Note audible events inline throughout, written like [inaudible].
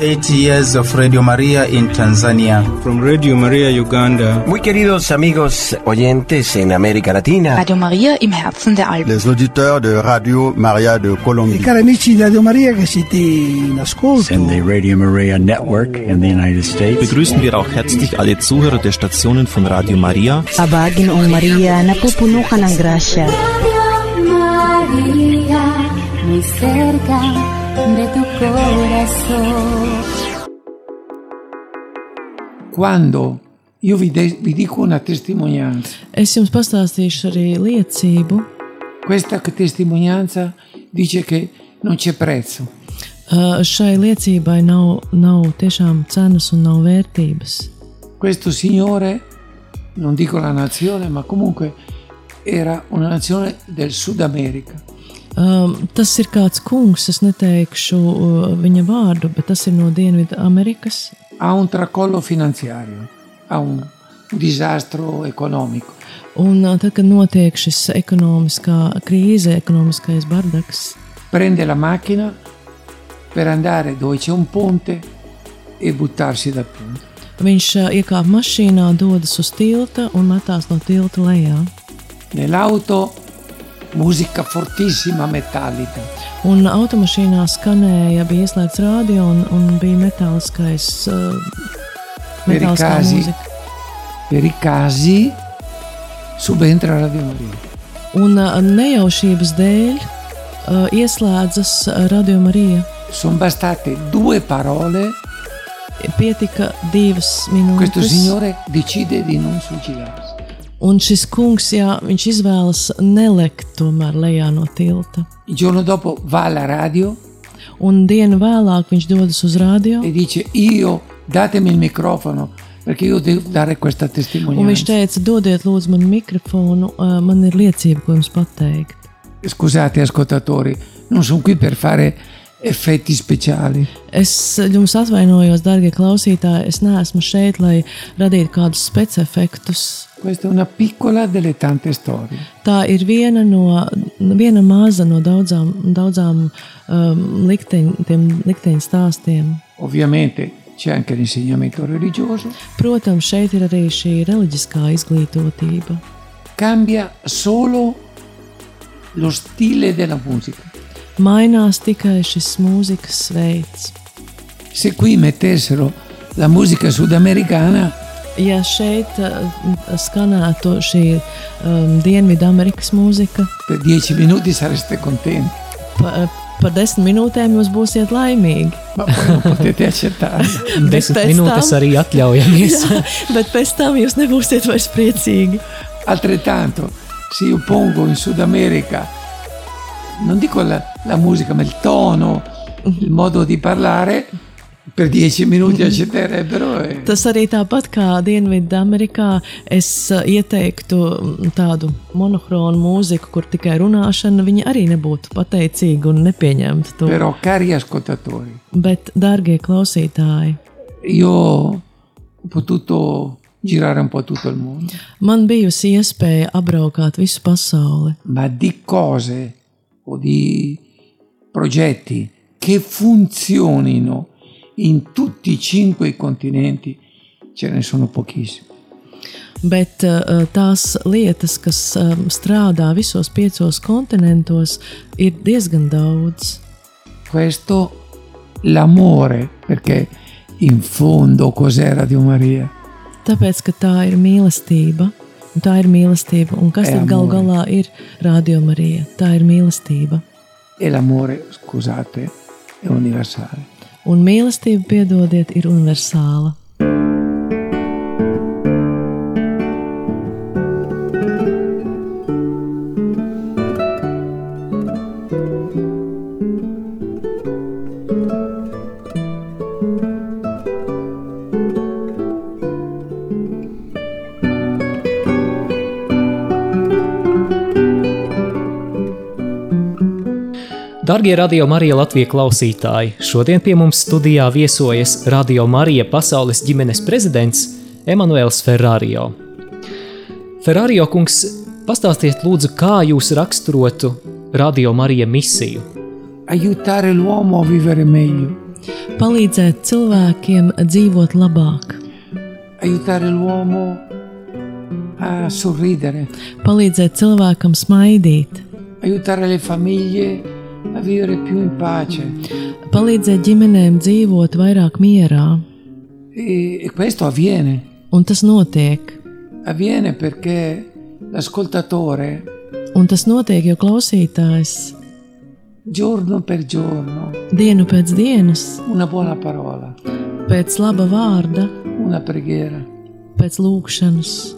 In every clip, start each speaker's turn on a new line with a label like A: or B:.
A: eight years of Radio Maria in Tanzania.
B: From Radio Maria Uganda.
C: Muy queridos amigos oyentes en América Latina.
D: Radio María im Herzen der Alpen.
E: Les auditeurs de Radio Maria de Colombia.
F: E cari amici di Radio Maria che siete in ascolto.
G: In the Radio Maria network in the United States.
H: Begrüßen wir auch herzlich alle Zuhörer der Stationen von Radio Maria.
I: Abagin o Maria, napupuno ka ng grasya.
J: Radio Maria, muy cerca de tu corazón.
K: Quando io vi, de- vi dico una testimonianza,
L: Es jums pastāstīšu arī liecību.
K: questa testimonianza dice che non c'è prezzo.
L: Uh, Šai liecībai nav, nav tiešām cenas un nav vērtības.
K: Questo signore, non dico la nazione, ma comunque era una nazione del Sud America.
L: Um, tas ir kāds kungs, es neteikšu uh, viņa vārdu, bet tas ir no Dienvidu Amerikas.
K: Ha un tracollo finanziario, ha un disastro economico.
L: Un uh, tad, kad notiek šis ekonomiskā krīze, ekonomiskais bardaks,
K: Prende la macchina per andare dove c'è un ponte e buttarsi dal ponte.
L: viņš uh, iekāp mašīnā, dodas uz tilta un metās no tilta lejā.
K: Nell'auto musica fortissima metallica.
L: Un automašīnā skanēja, bija ieslēgts radio un, un bija metāliskais, uh, metāliskā
K: Perikāzi.
L: mūzika.
K: Per i casi subentra Radio Maria.
L: Un uh, nejaušības dēļ uh, ieslēdzas Radio Marija.
K: Sono bastate due parole,
L: Pietika divas
K: questo
L: minūtes.
K: signore decide di non suicidarsi.
L: Un šis kungs, jā, viņš izvēlas nelikt tomēr lejā no tilta.
K: Il giorno dopo va alla radio
L: Un dienu vēlāk viņš dodas uz radio.
K: e dice io datemi il microfono perché io devo dare questa
L: Un viņš
K: testimonianza.
L: teica, dodiet, lūdzu, man mikrofonu, ā, man ir liecība, ko jums pateikt.
K: Scusate ascoltatori, non sono qui per fare effetti speciali.
L: Es jums atvainojos, darbie klausītāji, es neesmu šeit, lai radītu kādus specifektus.
K: Questa è una piccola delle tante storie.
L: Tā ir viena, no, viena maza no daudzām, daudzām um, likteņu tiem likteņu stāstiem.
K: Ovviamente c'è anche l'insegnamento religioso.
L: Protams, šeit ir arī šī reliģiskā izglītotība.
K: Cambia solo lo stile della musica.
L: Mainās tikai šis mūzikas veids.
K: Se qui mettessero la musica sudamericana,
L: Ja šeit uh, skanētu šī um, Dienvidamerikas mūzika,
K: per dieci minuti sareste contenti,
L: pa, par desmit minūtēm jūs būsiet laimīgi.
K: ma poi non potete accettarlo.
L: [laughs] Desmit
M: minūtes arī atļaujamies.
L: [laughs] Jā, bet pēc tam jūs nebūsiet vairs priecīgi.
K: Altrettanto, se io pongo in Sud America, non dico la, la musica, ma il tono, il modo di parlare, per dieci minuti accetterebbero. eh. e-
L: Tas arī tāpat kā Dienvidamerikā, es uh, ieteiktu mm, tādu monohronu mūziku, kur tikai runāšana, viņi arī nebūtu pateicīgi un nepieņemtu to.
K: Però, cari ascoltatori,
L: Bet, dārgie klausītāji,
K: io ho potuto girare un po' tutto il mondo,
L: man bijusi iespēja apbraukāt visu pasauli.
K: ma di cose o di progetti che funzionino in tutti i cinque i continenti ce ne sono pochissimi.
L: Bet uh, tās lietas, kas um, strādā visos piecos kontinentos, ir diezgan daudz.
K: questo l'amore, perché in fondo cos'è Radio Maria?
L: Tāpēc, ka tā ir mīlestība, un tā ir mīlestība, un kas
K: Ej,
L: tad gal
K: amore.
L: galā ir radiomārija? Tā ir mīlestība.
K: E l'amore, scusate, è universale.
L: Un mīlestība, piedodiet, ir universāla.
M: Darbie radio Marija Latvijas klausītāji, šodien pie mums studijā viesojas Radio Marija pasaules ģimenes prezidents Emanuēls Ferrario. Ferrario kungs, pastāstiet lūdzu, kā jūs raksturotu Radio Marija misiju?
K: Aiutare l'uomo a vivere meglio,
L: palīdzēt cilvēkiem dzīvot labāk.
K: aiutare l'uomo a sorridere,
L: palīdzēt cilvēkam smaidīt,
K: aiutare le famiglie a vivere più in pace.
L: palīdzēt ģimenēm dzīvot vairāk mierā.
K: E, e questo avviene,
L: Un tas notiek.
K: avviene perché l'ascoltatore
L: Un tas notiek, jo klausītājs
K: giorno per giorno
L: dienu pēc dienas,
K: una buona parola,
L: pēc laba vārda,
K: una preghiera,
L: pēc lūkšanas.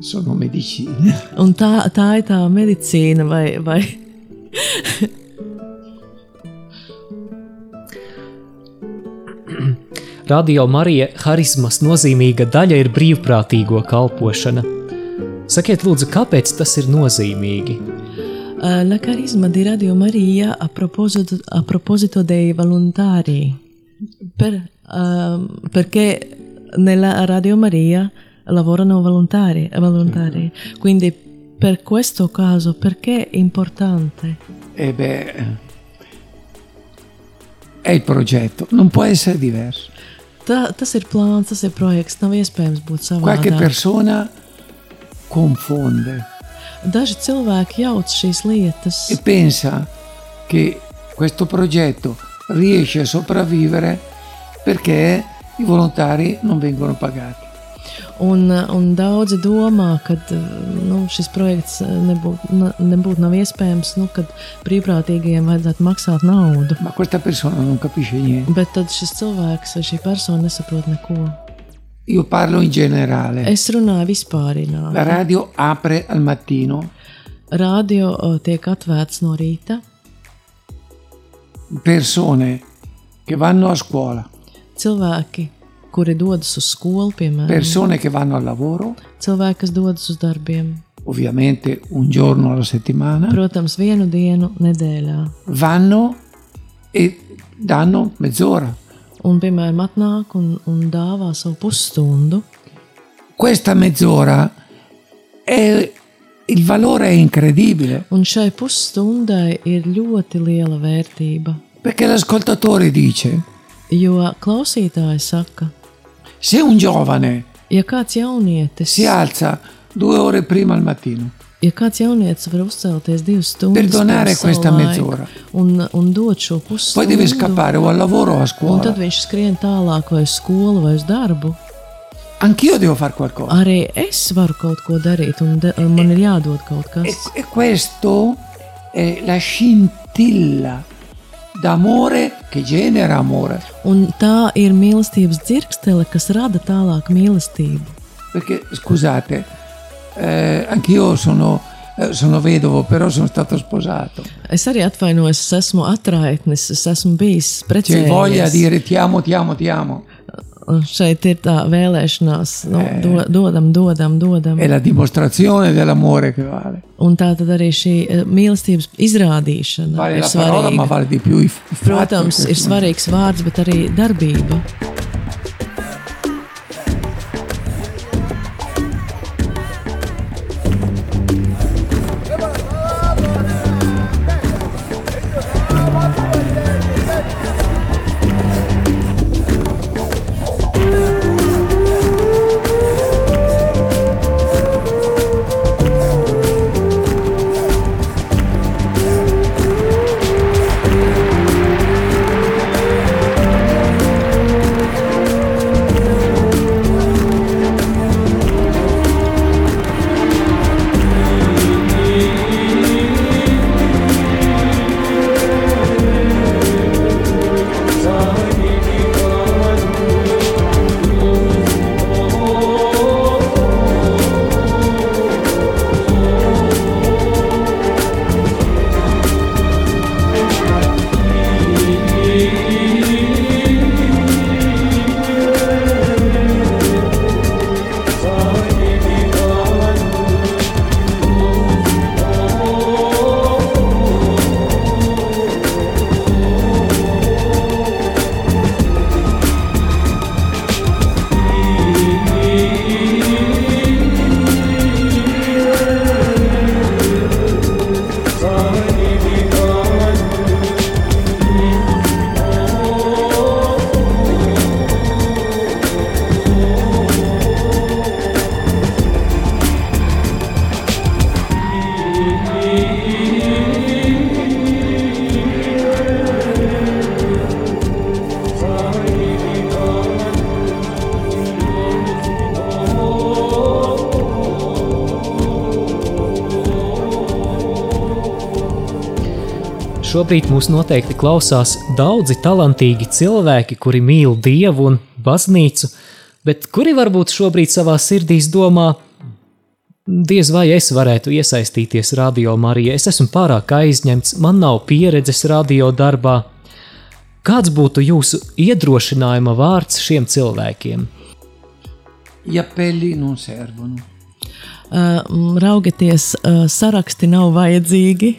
K: sono medicine.
L: Un tā, tā ir tā medicīna vai, vai
M: [clears throat] Radio Marija harizmas nozīmīga daļa ir brīvprātīgo kalpošana. Sakiet, lūdzu, kāpēc tas ir nozīmīgi?
L: Eh, La carisma di Radio Maria a proposito, a proposito dei volontari, Per, ehm, perché nella Radio Maria lavorano volontari, e volontari. quindi per questo caso perché è importante?
K: E beh, è il progetto, non può essere diverso.
L: Ta, tas ir plāns, tas ir projekts, nav iespējams būt
K: Qualche
L: savādāk.
K: persona confonde.
L: Daži cilvēki jauc šīs lietas
K: e pensa che questo progetto riesce a sopravvivere perché i volontari non vengono pagati.
L: un, eh, un daudzi domā, ka nu, šis projekts eh, nebūtu na- nebūtu nav iespējams, nu, kad brīvprātīgajiem vajadzētu maksāt naudu.
K: Ma questa persona non capisce niente.
L: Bet tad šis cilvēks vai šī persona nesaprot neko.
K: Io parlo in generale.
L: Es runāju vispārīgi.
K: La radio apre al mattino
L: Radio o, tiek atvērts no rīta.
K: persone che vanno a scuola,
L: Cilvēki, kuri dodas uz skolu, piemēram,
K: persone che vanno al lavoro,
L: cilvēki, kas dodas uz darbiem,
K: ovviamente un giorno alla settimana,
L: protams, vienu dienu nedēļā.
K: vanno e danno mezz'ora.
L: Un, piemēram, atnāk un, un dāvā savu pusstundu.
K: Questa mezz'ora è il valore è incredibile.
L: Un šai pusstundai ir ļoti liela vērtība.
K: Perché l'ascoltatore dice,
L: Jo klausītāji saka,
K: se un giovane
L: ja kāds jaunietis,
K: si alza due ore prima al mattino,
L: Ja kāds jaunietis var uzcelties divas stundas,
K: Perdonare
L: pirms savu
K: questa
L: laiku
K: mezz'ora.
L: un, un dot šo pusstundu,
K: poi deve scappare o al lavoro o a
L: un
K: scuola.
L: tad viņš skrien tālāk vai uz skolu vai uz darbu.
K: Anch'io devo fare qualcosa.
L: Arī es varu kaut ko darīt, un de, man ir jādod kaut
K: E,
L: kas.
K: e questo è la scintilla d'amore che genera amore.
L: Un tā ir mīlestības dzirkstele, kas rada tālāk mīlestību.
K: Perché, scusate, eh, anch'io sono, eh, sono vedovo, però sono stato sposato.
L: Es arī atvainojos, es esmu atraitnis, es esmu bijis
K: C'è
L: precējies.
K: voglia di dire ti amo, ti amo, ti amo.
L: Un Šeit ir tā vēlēšanās, nu, do, dodam, dodam, dodam.
K: È la dimostrazione dell'amore che vale.
L: Un tā tad arī šī eh, mīlestības izrādīšana
K: Vale
L: ir
K: la parola, ma
L: svarīga.
K: vale di più il f- il fatto.
L: Protams, ir svarīgs vārds, bet arī darbība.
M: Šobrīd mūs noteikti klausās daudzi talantīgi cilvēki, kuri mīl Dievu un baznīcu, bet kuri varbūt šobrīd savā sirdīs domā, diez vai es varētu iesaistīties radio Marijā, es esmu pārāk aizņemts, man nav pieredzes radio darbā. Kāds būtu jūsu iedrošinājuma vārds šiem cilvēkiem?
K: Gli appelli non servono.
L: Uh, raugieties, uh, saraksti nav vajadzīgi.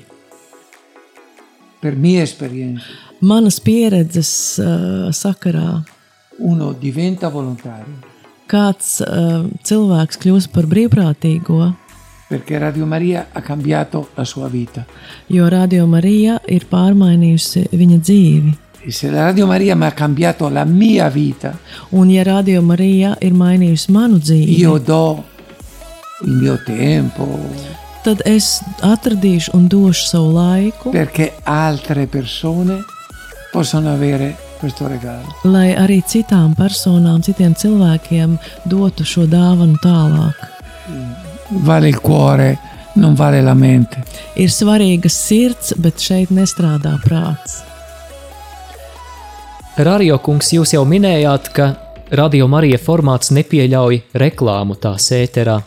K: Per mia esperienza,
L: Manas pieredzes uh, sakarā
K: uno diventa volontario
L: kāds uh, cilvēks kļūst par brīvprātīgo,
K: perché Radio Maria ha cambiato la sua vita.
L: jo Radio Marija ir pārmainījusi viņa dzīvi.
K: E se la Radio Maria mi ha cambiato la mia vita,
L: Un, ja Radio Marija ir mainījusi manu dzīvi,
K: io do il mio tempo
L: tad es atradīšu un došu savu laiku,
K: perché altre persone possano avere questo regalo.
L: lai arī citām personām, citiem cilvēkiem dotu šo dāvanu tālāk.
K: Vale il cuore, non vale la mente.
L: Ir svarīga sirds, bet šeit nestrādā prāts.
M: Radio kungs, jūs jau minējāt, ka radio Marija formāts nepieļauj reklāmu tās ēterā.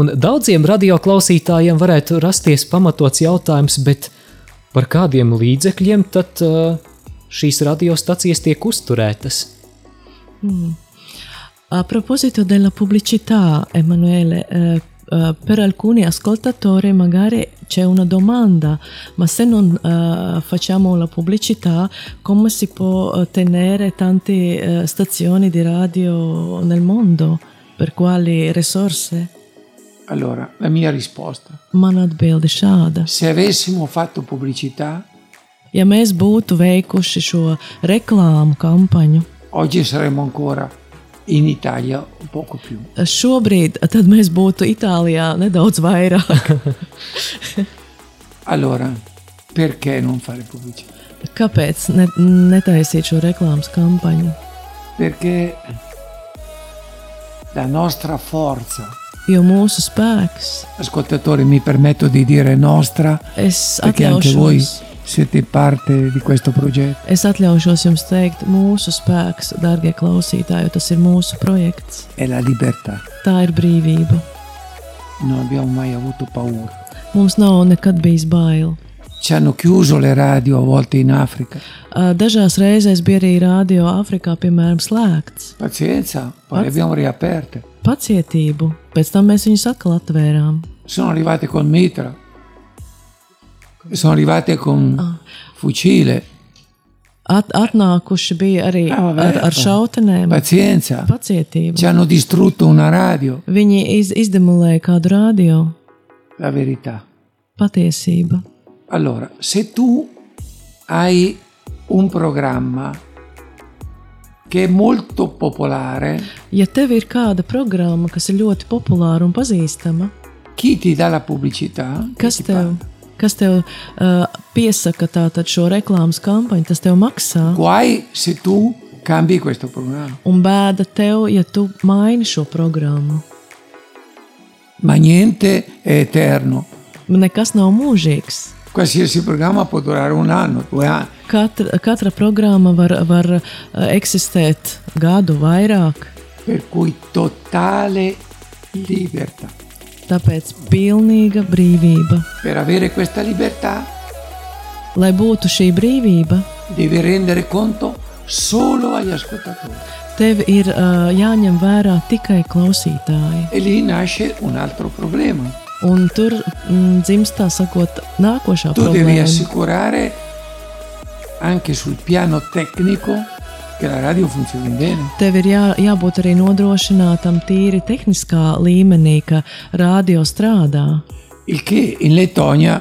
M: Un daudziem radioklausītājiem varētu rasties pamatots jautājums, bet par kādiem līdzekļiem tad uh, šīs radiostacijas tiek uzturētas?
L: A proposito della pubblicità, Emanuele, eh, eh, per alcuni ascoltatori magari c'è una domanda, ma se non eh, facciamo la pubblicità, come si può eh, tenere tante eh, stazioni di radio nel mondo? Per quali risorse?
K: Allora, la mia risposta,
L: Man atbildi šāda.
K: se avessimo fatto pubblicità,
L: Ja mēs būtu veikuši šo reklāmu kampaņu,
K: oggi saremmo ancora in Italia o poco più.
L: eh, šobrīd eh, tad mēs būtu Itālijā nedaudz vairāk.
K: Allora, perché non fare pubblicità?
L: Kāpēc ne, netaisīt šo reklāmas kampaņu?
K: Perché la nostra forza,
L: Jo mūsu spēks,
K: ascoltatori, mi permetto di dire nostra,
L: es
K: perché anche voi
L: atļaušos,
K: siete parte di questo progetto,
L: es atļaušos jums teikt, mūsu spēks, darbie klausītāji, jo tas ir mūsu projekts.
K: è la libertà.
L: Tā ir brīvība.
K: Non abbiamo mai avuto paura.
L: Mums nav nekad bijis bail.
K: Ci hanno chiuso le radio a volte in Africa.
L: Ā, Dažās reizēs bija arī rādio Āfrikā, piemēram, slēgts.
K: Pazienza, poi le
L: Pazz-
K: abbiamo riaperte.
L: Pacietību, pēc tam mēs viņus atkal atvērām.
K: Sono arrivate con mitra, sono arrivate con fucile.
L: At, atnākuši bija arī
K: Jā,
L: ar,
K: vērtā.
L: ar šautenēm.
K: Pazienza, ci
L: Pacietību.
K: hanno distrutto una radio.
L: Viņi iz, izdemolēja kādu rādio.
K: La verità.
L: Patiesība.
K: Allora, se tu hai un programma che è molto popolare,
L: Ja tev ir kāda programma, kas ir ļoti populāra un pazīstama,
K: chi ti dà la pubblicità?
L: kas
K: Chi ti
L: tev,
K: paga?
L: kas tev uh, piesaka tātad šo reklāmas kampaņu, tas tev maksā.
K: Guai se tu cambi questo programma.
L: Un bēda tev, ja tu maini šo programmu.
K: Ma niente è eterno.
L: Nekas nav mūžīgs.
K: Qualsiasi programma può durare un anno, due anni.
L: Katra, katra programma var, var uh, eksistēt gadu vairāk,
K: Per cui totale libertà.
L: tāpēc pilnīga brīvība.
K: Per avere questa libertà
L: Lai būtu šī brīvība,
K: devi rendere conto solo agli ascoltatori.
L: tev ir uh, jāņem vērā tikai klausītāji.
K: E lì nasce un altro problema.
L: Un tur mm, dzimst tā sakot, nākošā
K: Tu devi
L: problēma.
K: assicurare anche sul piano tecnico che la radio funzioni bene.
L: Tev ir jā, jābūt arī nodrošinātam tīri tehniskā līmenī, ka radio strādā.
K: Il che in Lettonia,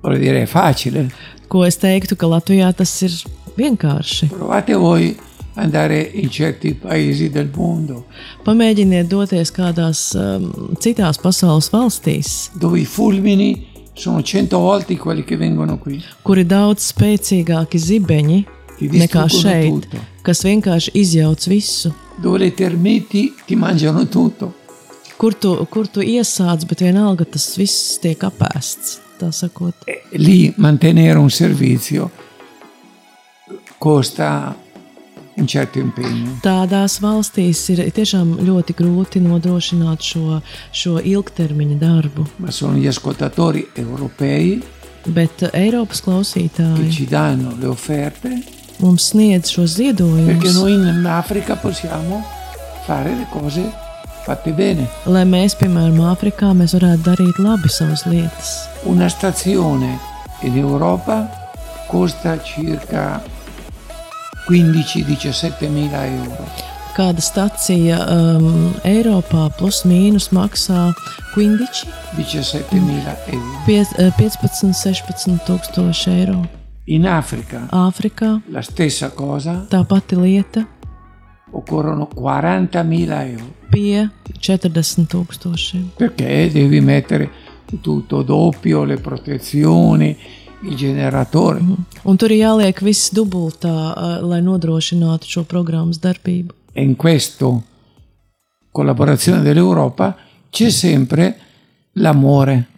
K: vorrei dire, è facile.
L: Ko es teiktu, ka Latvijā tas ir vienkārši.
K: Provate voi ad andare in certi paesi del mondo
L: Pamēģiniet doties kādās um, citās pasaules valstīs,
K: dove i fulmini sono cento volte quelli che vengono qui.
L: kur ir daudz spēcīgāki zibeņi
K: Ti
L: nekā
K: distruggono
L: šeit,
K: tutto.
L: kas vienkārši izjauc visu.
K: Dove le termiti ti mangiano tutto.
L: Kur tu, kur tu iesāc, bet vienalga tas viss tiek apēsts. tā sakot.
K: lì mantenere un servizio costa un certo impegno.
L: Tādās valstīs ir tiešām ļoti grūti nodrošināt šo, šo ilgtermiņa darbu.
K: Ma sono gli ascoltatori europei
L: Bet eh, Eiropas
K: che ci
L: klausītāji
K: danno le offerte
L: mums sniedz šo
K: perché
L: ziedojumu,
K: noi in Africa possiamo fare le cose fatte bene.
L: lai mēs, piemēram, Āfrikā, mēs varētu darīt labi savas lietas.
K: Una stazione in Europa costa circa 15-17 mila euro.
L: Kāda stacija um, Eiropā plus mīnus maksā Quindiči
K: 17 mila euro.
L: pie- eh, 15, 16 tūkstoši eiro.
K: In Africa
L: Āfrikā
K: la stessa cosa,
L: tā pati lieta
K: occorrono 40.000 euro.
L: pie 40 tūkstošiem.
K: perché devi mettere tutto doppio, le protezioni, il generatore.
L: Un tur ir jāliek viss dubultā, eh, lai nodrošinātu šo programmas darbību.
K: E in questa collaborazione dell'Europa c'è sempre l'amore.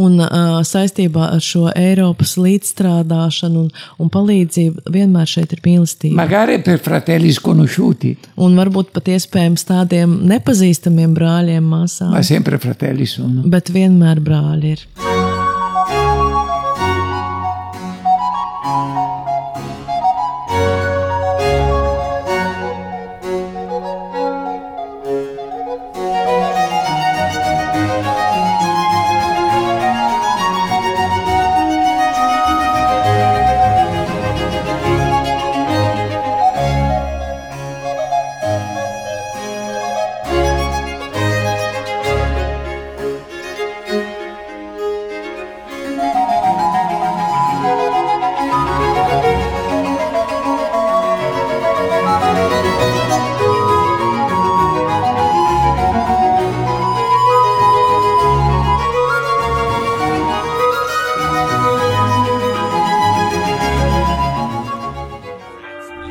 L: Un uh, saistībā ar šo Eiropas līdzstrādāšanu un, un palīdzību vienmēr šeit ir mīlestība.
K: Magari per fratelli sconosciuti,
L: Un varbūt pat iespējams tādiem nepazīstamiem brāļiem, māsām.
K: ma sempre fratelli sono.
L: Bet vienmēr brāļi ir.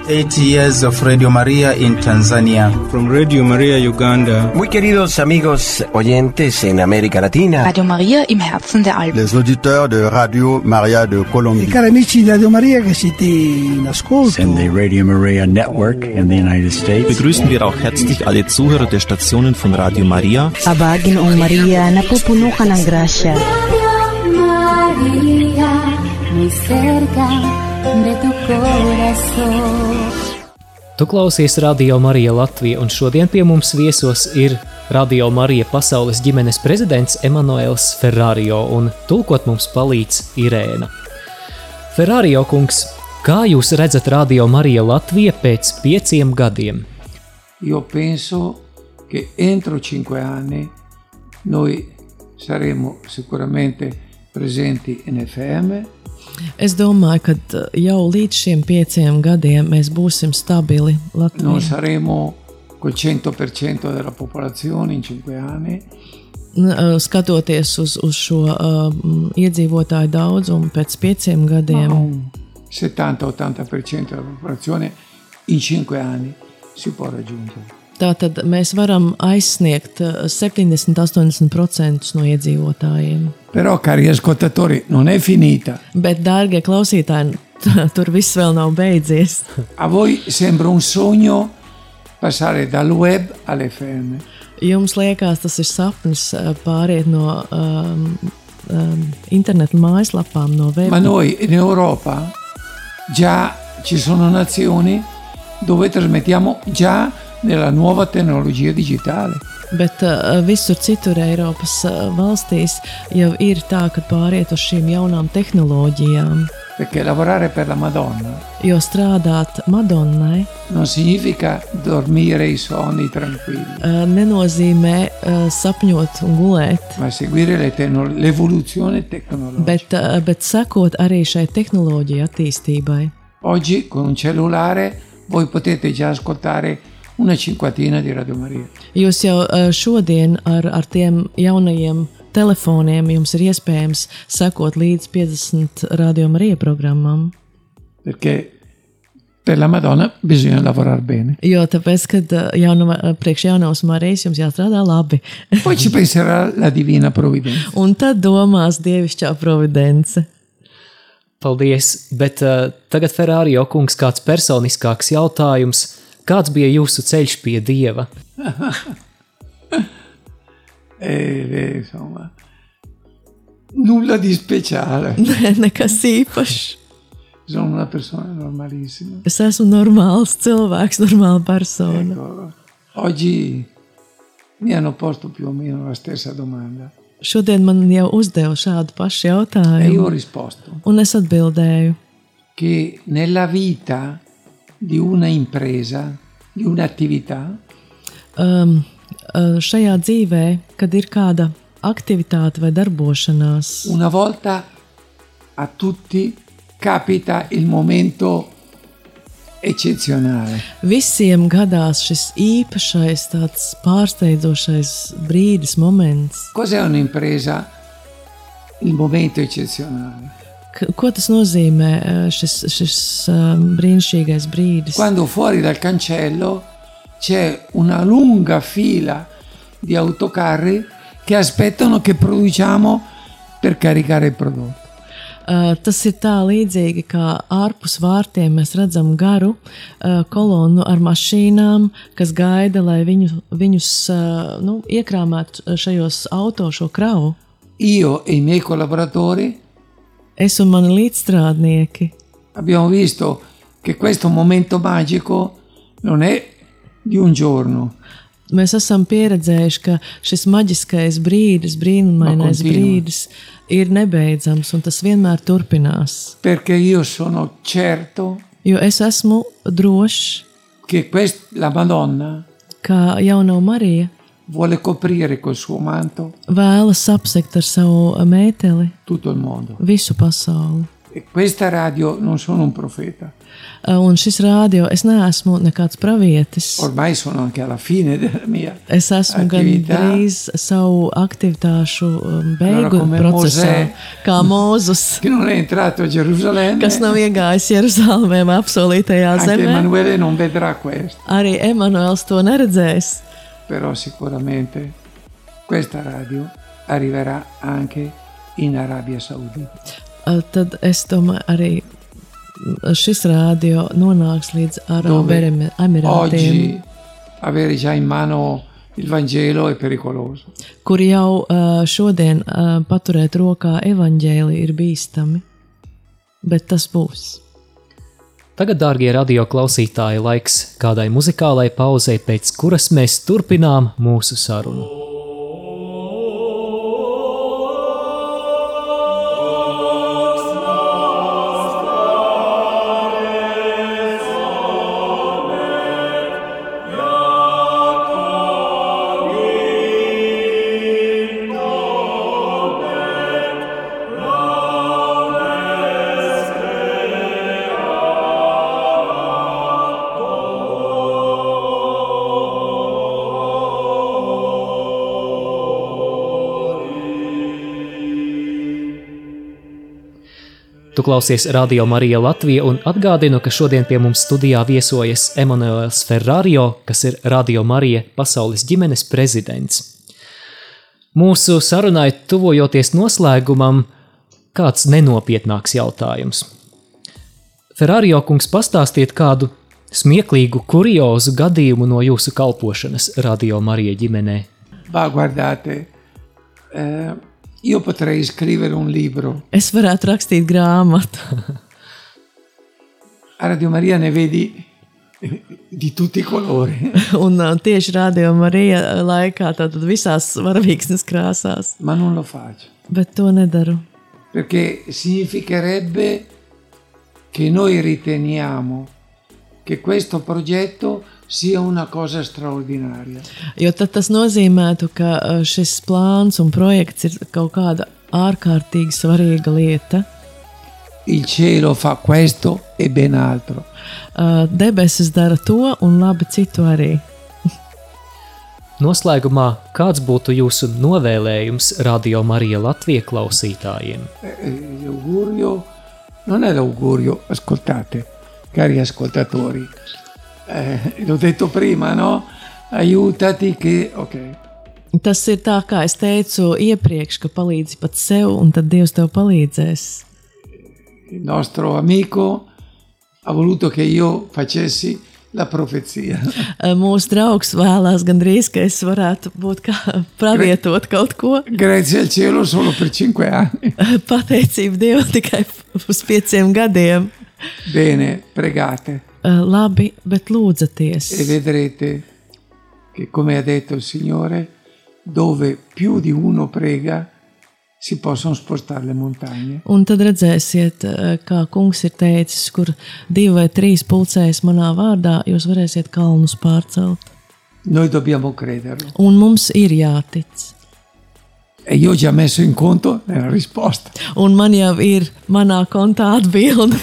A: Eight years of Radio Maria in Tanzania.
B: From Radio Maria Uganda.
C: Muy queridos amigos oyentes en América Latina,
D: Radio Maria im Herzen der Alpen.
E: Les auditeurs de Radio Maria de
F: E
E: Colombie.
F: cari amici di Radio Maria che siete in ascolto,
G: in the Radio Maria Network in the United States.
H: Begrüßen wir auch herzlich alle Zuhörer der Stationen von Radio Maria.
I: Aba, Ginoong Maria, napupuno ka ng grasya.
J: Radio María, muy cerca de tu corazón.
M: Tu klausies Radio Marija Latvija, un šodien pie mums viesos ir Radio Marija pasaules ģimenes prezidents Emanuēls Ferrario, un tulkot mums palīdz Irēna. Ferrario kungs, kā jūs redzat Radio Marija Latvija pēc pieciem gadiem?
K: Io penso che entro cinque anni noi saremo sicuramente presenti in FM,
L: Es domāju, ka eh, jau līdz šiem pieciem gadiem mēs būsim stabili
K: non
L: Latvijā.
K: saremo col 100% della popolazione in 5 anni,
L: N- eh, Skatoties uz, uz šo um, iedzīvotāju daudzumu pēc pieciem gadiem,
K: ma un 70-80% della popolazione in 5 anni si può raggiungere.
L: Tātad mēs varam aizsniegt eh, 70-80% no iedzīvotājiem.
K: Però, cari ascoltatori, non è finita.
L: Bet, dārgie klausītāji, [laughs] t- tur viss vēl nav beidzies.
K: A voi sembra un sogno passare dal web all'FM.
L: Jums liekas, tas ir sapnis eh, pāriet no um, um, interneta mājaslapām, no
K: Ma
L: web.
K: noi in Europa già ci sono nazioni dove trasmettiamo già nella nuova tecnologia digitale.
L: Bet eh, visur citur Eiropas eh, valstīs jau ir tā, ka pāriet uz šīm jaunām tehnoloģijām.
K: Perché lavorare per la Madonna
L: Jo strādāt Madonnai eh,
K: non significa dormire i sonni tranquilli,
L: eh, nenozīmē eh, sapņot un gulēt.
K: ma seguire le tecno- l'evoluzione tecnologica.
L: Bet, eh, bet sekot arī šai tehnoloģiju attīstībai.
K: Oggi con un cellulare voi potete già ascoltare una cinquantina di Radio Maria.
L: Jūs jau eh, šodien ar, ar tiem jaunajiem telefoniem jums ir iespējams sekot līdz 50 radiokamā rieprogrammam.
K: Perché per la Madonna bisogna lavorare bene.
L: Jo tāpēc, kad uh, jaunuma, priekš jaunās Marijas jums jāstrādā labi.
K: Poi ci penserà la divina providenza.
L: Un tad domās dievišķā providence. [laughs]
M: Paldies, bet uh, tagad Ferrari kungs kāds personiskāks jautājums. Kāds bija jūsu ceļš pie dieva?
K: E, e, Eh, insomma, nulla di speciale.
L: Nē, nekas īpašs.
K: Sono una persona normalissima.
L: Es esmu normāls cilvēks, normāla persona.
K: Ecco, oggi mi hanno posto più o meno la stessa domanda
L: Šodien man jau uzdeva šādu pašu
K: e io ho
L: jautājumu,
K: risposto
L: un es atbildēju,
K: che nella vita di una impresa, di un'attività,
L: um, uh, šajā dzīvē, kad ir kāda aktivitāte vai darbošanās,
K: una volta a tutti capita il momento eccezionale.
L: visiem gadās šis īpašais, tāds pārsteidzošais brīdis, moments.
K: Cos'è un'impresa? Il momento eccezionale.
L: K ko tas nozīmē, uh, šis, šis um, brīnišķīgais brīdis?
K: Quando fuori dal cancello c'è una lunga fila di autocarri che aspettano che produciamo per caricare il prodotto.
L: Uh, tas ir tā līdzīgi, kā ārpus vārtiem mēs redzam garu uh, kolonu ar mašīnām, kas gaida, lai viņu, viņus uh, nu, iekrāmētu šajos auto šo kravu.
K: Io e i miei collaboratori
L: Es un mani līdzstrādnieki.
K: abbiamo visto che questo momento magico non è di un giorno,
L: Mēs esam pieredzējuši, ka šis maģiskais brīdis, brīnumainais
K: No continua.
L: brīdis, ir nebeidzams un tas vienmēr turpinās.
K: perché io sono certo
L: Jo es esmu drošs,
K: che quest- la Madonna
L: ka jaunā Marija
K: vuole coprire col suo manto
L: vēlas apsekt ar savu mēteli
K: tutto il mondo.
L: visu pasauli.
K: E questa radio non sono un profeta,
L: Eh, Un šis rādio, es neesmu nekāds pravietis.
K: ormai sono anche alla fine della mia.
L: Es esmu
K: Aktivitāte.
L: gandrīz savu aktivitāšu um, beigu
K: Nonākumē
L: procesā,
K: mozē.
L: kā Mozus,
K: Che non è entrato a Gerusalemme,
L: kas nav iegājis Jeruzalemē, apsolītajā
K: anche
L: zemē.
K: Emanuele non vedrà questo,
L: Arī Emanuēls to neredzēs,
K: però sicuramente questa radio arriverà anche in Arabia Saudita.
L: Uh, tad es domāju, arī mm, šis rādio nonāks līdz eh, Arabu
K: Dove
L: Emi- Emirātiem,
K: Oggi avere già in mano il Vangelo è pericoloso.
L: kur jau uh, šodien uh, paturēt rokā evaņģēli ir bīstami. Bet tas būs.
M: Tagad, dārgie radio klausītāji, laiks kādai muzikālai pauzei, pēc kuras mēs turpinām mūsu sarunu. Tu klausies Radio Marija Latvija un atgādinu, ka šodien pie mums studijā viesojas Emanuēls Ferrario, kas ir Radio Marija pasaules ģimenes prezidents. Mūsu sarunai tuvojoties noslēgumam, kāds nenopietnāks jautājums. Ferrario kungs, pastāstiet kādu smieklīgu, kuriozu gadījumu no jūsu kalpošanas Radio Marija ģimenē.
K: Ma guardate, eh, io potrei scrivere un libro.
L: Es varētu rakstīt grāmatu. [laughs]
K: A Radio Maria ne vedi [laughs] eh, di tutti i colori, [laughs]
L: Un uh, tieši rādījuma arī laikā, tātad visās varavīksnes krāsās.
K: ma non lo faccio
L: Bet to nedaru.
K: perché significherebbe che noi riteniamo che questo progetto sia una cosa straordinaria.
L: Jo tad tas nozīmētu, ka uh, šis plāns un projekts ir kaut kāda ārkārtīgi svarīga lieta.
K: Il cielo fa questo e ben altro.
L: Uh, Debesis dara to un labi citu arī.
M: Noslēgumā, kāds būtu jūsu novēlējums Radio Marija Latvija klausītājiem?
K: Eh, eh, l'augurio non è l'augurio, ascoltate, cari ascoltatori. Eh, l'ho detto prima, no? Aiutati che... Ok.
L: Tas ir tā, kā es teicu iepriekš, ka palīdzi pats sev, un tad Dievs tev palīdzēs.
K: Il nostro amico ha voluto che io facessi la profezia.
L: Uh, Mūsu draugs vēlās gandrīz, ka es varētu būt kā [laughs] pravietot kaut ko.
K: Grazie al cielo solo per 5 anni.
L: [laughs] Pateicība Dievam tikai uz pieciem gadiem.
K: Bene, pregate
L: Eh, Labi, bet lūdzaties.
K: e vedrete che come ha detto il Signore, dove più di uno prega si possono spostare le montagne.
L: Un tad redzēsiet, eh, kā kungs ir teicis, kur divi vai trīs pulcējas manā vārdā, jūs varēsiet kalnus pārcelt.
K: Noi dobbiamo crederlo.
L: Un mums ir jātic.
K: E io ho già messo in conto nella risposta.
L: Un man jau ir manā kontā atbilde.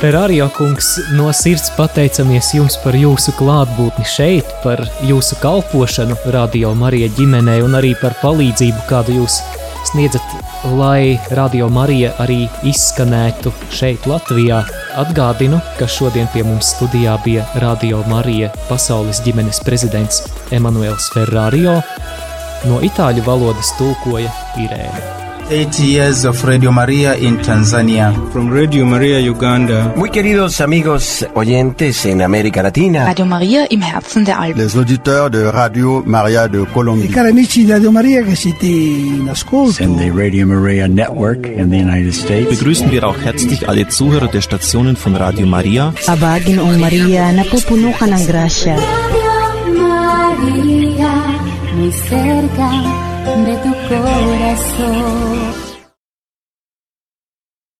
M: Ferrari kungs, no sirds pateicamies jums par jūsu klātbūtni šeit, par jūsu kalpošanu Radio Marija ģimenei un arī par palīdzību, kādu jūs sniedzat, lai Radio Marija arī izskanētu šeit, Latvijā. Atgādinu, ka šodien pie mums studijā bija Radio Marija pasaules ģimenes prezidents Emanuels Ferrario. No itāļu valodas tulkoja Irēna.
A: Eight years of Radio Maria in Tanzania.
B: From Radio Maria Uganda.
C: Muy queridos amigos oyentes en América Latina.
D: Radio Maria im Herzen der Alpen.
E: Les auditeurs de Radio Maria de
F: E
E: Colombie.
F: cari amici di Radio Maria che siete in ascolto,
G: and the Radio Maria Network in the United States.
H: Begrüßen wir auch herzlich alle Zuhörer der Stationen von Radio Maria.
I: Abagin o Maria, napupuno ka ng grasya.
J: Radio María, muy cerca de tu corazón.